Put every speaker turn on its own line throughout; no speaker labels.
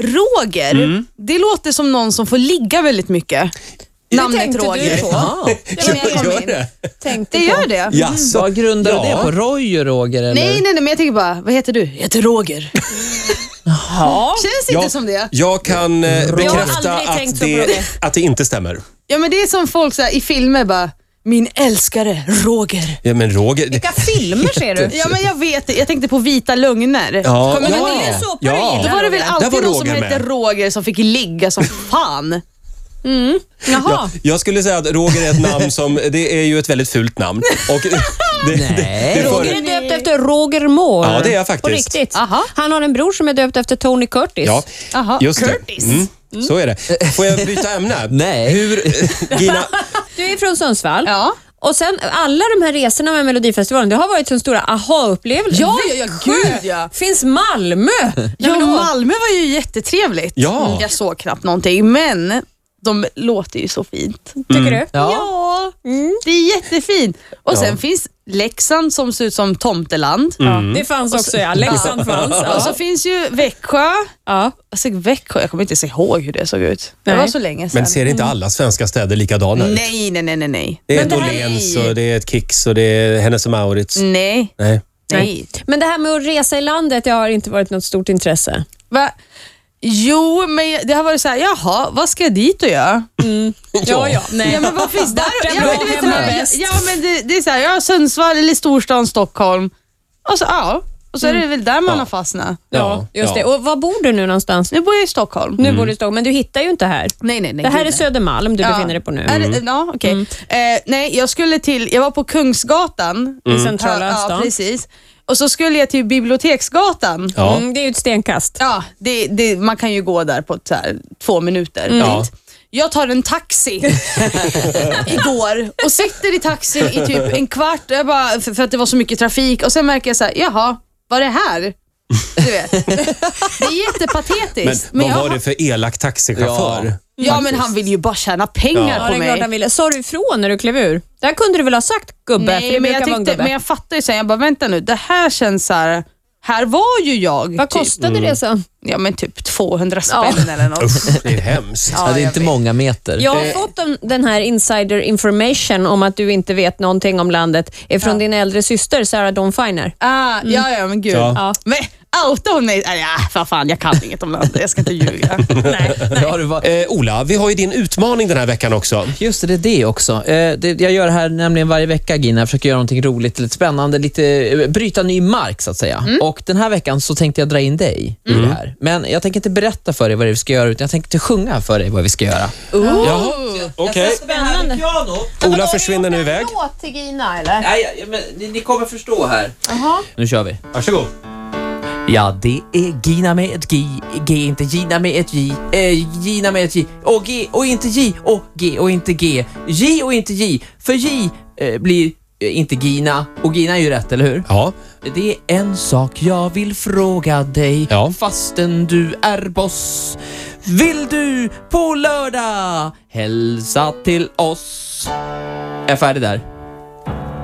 Roger, det låter som någon som får ligga väldigt mycket. Namnet
tänkte du
Roger.
på.
Ah,
Det var när jag kom
gör
in. Mm.
det?
Tänkte
Det gör
på.
det?
Jaså?
Vad grundar
Ja.
du det på? Roy och Roger eller?
Nej, nej, nej, men jag tänker bara, vad heter du? Jag heter Roger. Känns inte som det.
Jag kan eh, bekräfta
aldrig tänkt
att
så på
det,
det.
att det inte stämmer.
Ja, men det är som folk så här, i filmer bara, min älskare Roger.
Ja, men Roger... det-
Vilka filmer ser du?
Ja, men jag vet det. Jag tänkte på Vita lögner.
Ja,
Kommer
Men
du
ja.
ihåg
det är
det?
ju såpa du
Ja.
gillar,
Då var det väl
Roger.
alltid
Där var
någon som
Roger
hette
med.
Roger som fick ligga som fan. Mm. Jaha.
Jag skulle säga att Roger är ett namn som... Det är ju ett väldigt fult namn. Och det, det,
Nej.
det, det
Roger är
för,
döpt efter Roger Moore.
Ja, det är jag faktiskt.
På riktigt.
Aha.
Han har en bror som är döpt efter Tony Curtis.
ja,
Aha.
just det.
Curtis.
Mm, så är det. Får jag byta ämne?
Nej.
Hur, Gina,
Du är från Sundsvall.
Ja.
Och sen alla de här resorna med Melodifestivalen, det har varit så stora aha-upplevelser.
Ja, ja, ja, gud, ja.
Finns Malmö.
Ja,
Nej, men åh.
Malmö var ju jättetrevligt.
Ja.
Mm, Jag såg knappt någonting, men de låter ju så fint.
Tycker du?
Ja,
Ja.
Mm.
det är jättefint. Och sen finns Leksand som ser ut som tomteland.
Mm. Det fanns också ja, Leksand fanns.
Och
Ja.
så finns ju Växjö.
Ja.
Alltså, Växjö, jag kommer inte ens ihåg hur det såg ut.
Nej.
Det var så länge sedan.
men ser inte alla svenska städer likadana ut?
Nej, nej, nej, nej. Nej.
Det är
Men det här- Mm.
Åhléns och det är ett Kicks och det är Hennes och Mauritz.
Nej.
Nej.
nej.
Men det här med att resa i landet det har inte varit något stort intresse.
Va? Jo, men jag- det har varit så här, jaha, vad ska jag dit och göra?
Ja, ja. Nej.
Ja, men vad finns där?
Vart är
Ja,
bra
men du vet,
hemma
så här,
bäst?
ja, men det, det är så här, ja, Sundsvall eller storstan Stockholm. Och så, ja, och så
Mm.
är det väl där man har fastnat.
Ja, just det.
ja.
Och var bor du nu någonstans?
Nu bor jag i Stockholm.
Mm.
Nu bor du i Stockholm, men du hittar ju inte här.
Nej, nej, nej.
Det
gud,
här är Mm.
nej.
Södermalm du
Ja.
befinner dig på nu.
Är det- Ja, okej. Eh, nej, jag skulle till, jag var på Kungsgatan.
Mm. I centrala
ja, ja,
stan.
precis. Och så skulle jag till Biblioteksgatan. Ja.
Ja.
Mm, det är ju ett stenkast.
det, det, man kan ju gå där på så här, två minuter.
Mm. Ja.
Jag tar en taxi igår och sitter i taxin i typ en kvart jag bara, för, för att det var så mycket trafik och sen märker jag så här, jaha, var det här? Du vet. Det är
Men
jättepatetiskt.
vad
jag,
var det för elak taxichaufför?
Ja.
ja, men han vill ju bara tjäna pengar
Ja,
på
det är
mig.
klart han ville. Sa du ifrån när du klev ur? Det här kunde du väl ha sagt gubbe? för det
Nej, men
brukar
jag,
vara en
tyckte,
gubbe.
men jag fattar ju sen, jag bara vänta nu, det här känns så här, här var ju jag.
Vad
typ.
kostade resan?
Ja, men typ 200 spänn eller något.
Usch, det är hemskt.
Ja, det är inte många meter.
Jag har fått den- den här insider information om att du inte vet någonting om landet ifrån din äldre syster Sarah Dawn Finer.
Ah, ja, ja, men gud.
Ja.
Ja.
Men outa hon mig? Ah, Ja, för fan, jag kan inget om landet. Jag ska inte ljuga.
Ja, det var...
Eh, Ola, vi har ju din utmaning den här veckan också.
Just det, det är det också. Eh, det, jag gör det här nämligen varje vecka, Gina. Jag försöker göra någonting roligt, lite spännande, lite, eh, bryta ny mark så att säga. Och Den här veckan så tänkte jag dra in dig
Mm.
i det här. Men jag tänker inte berätta för dig vad det är vi ska göra, utan jag tänkte sjunga för dig vad vi ska göra.
Jaha, okej.
Spännande.
Ola försvinner nu iväg.
Låt till Gina eller?
Nej, men ni, kommer förstå här. Nu kör vi.
Varsågod.
Ja, det är Gina med ett G, G inte Gina med ett J, eh, Gina med ett J, och G och inte J, och G och inte G, J och inte J, för J eh, blir eh, inte Gina, och Gina är ju rätt, eller hur?
Ja,
Det är en sak jag vill fråga dig
Ja.
fastän du är boss. Vill du på lördag hälsa till oss? Jag är färdig där.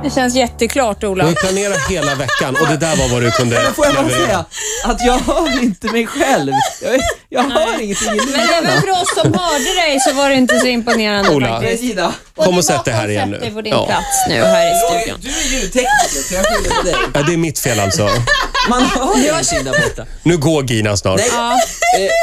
Det känns jätteklart
du har
Ola.
ju planerat hela veckan och det där var vad du kunde
Men får jag bara
leverera.
säga att jag hör inte mig själv. Jag, jag hör ingenting i
Men även
lurarna.
för oss som hörde dig så var det inte så imponerande
Ola.
faktiskt.
Nej, Gina.
Kom
du
och sätt dig här
bakom
igen
sätt dig på
nu.
din
Ja.
plats nu här i studion.
Du är ljudtekniker så jag skyller på dig.
Ja, det är mitt fel alltså.
Man hör ju inte Gina borta.
Nu går Gina snart.
Nej. Eh,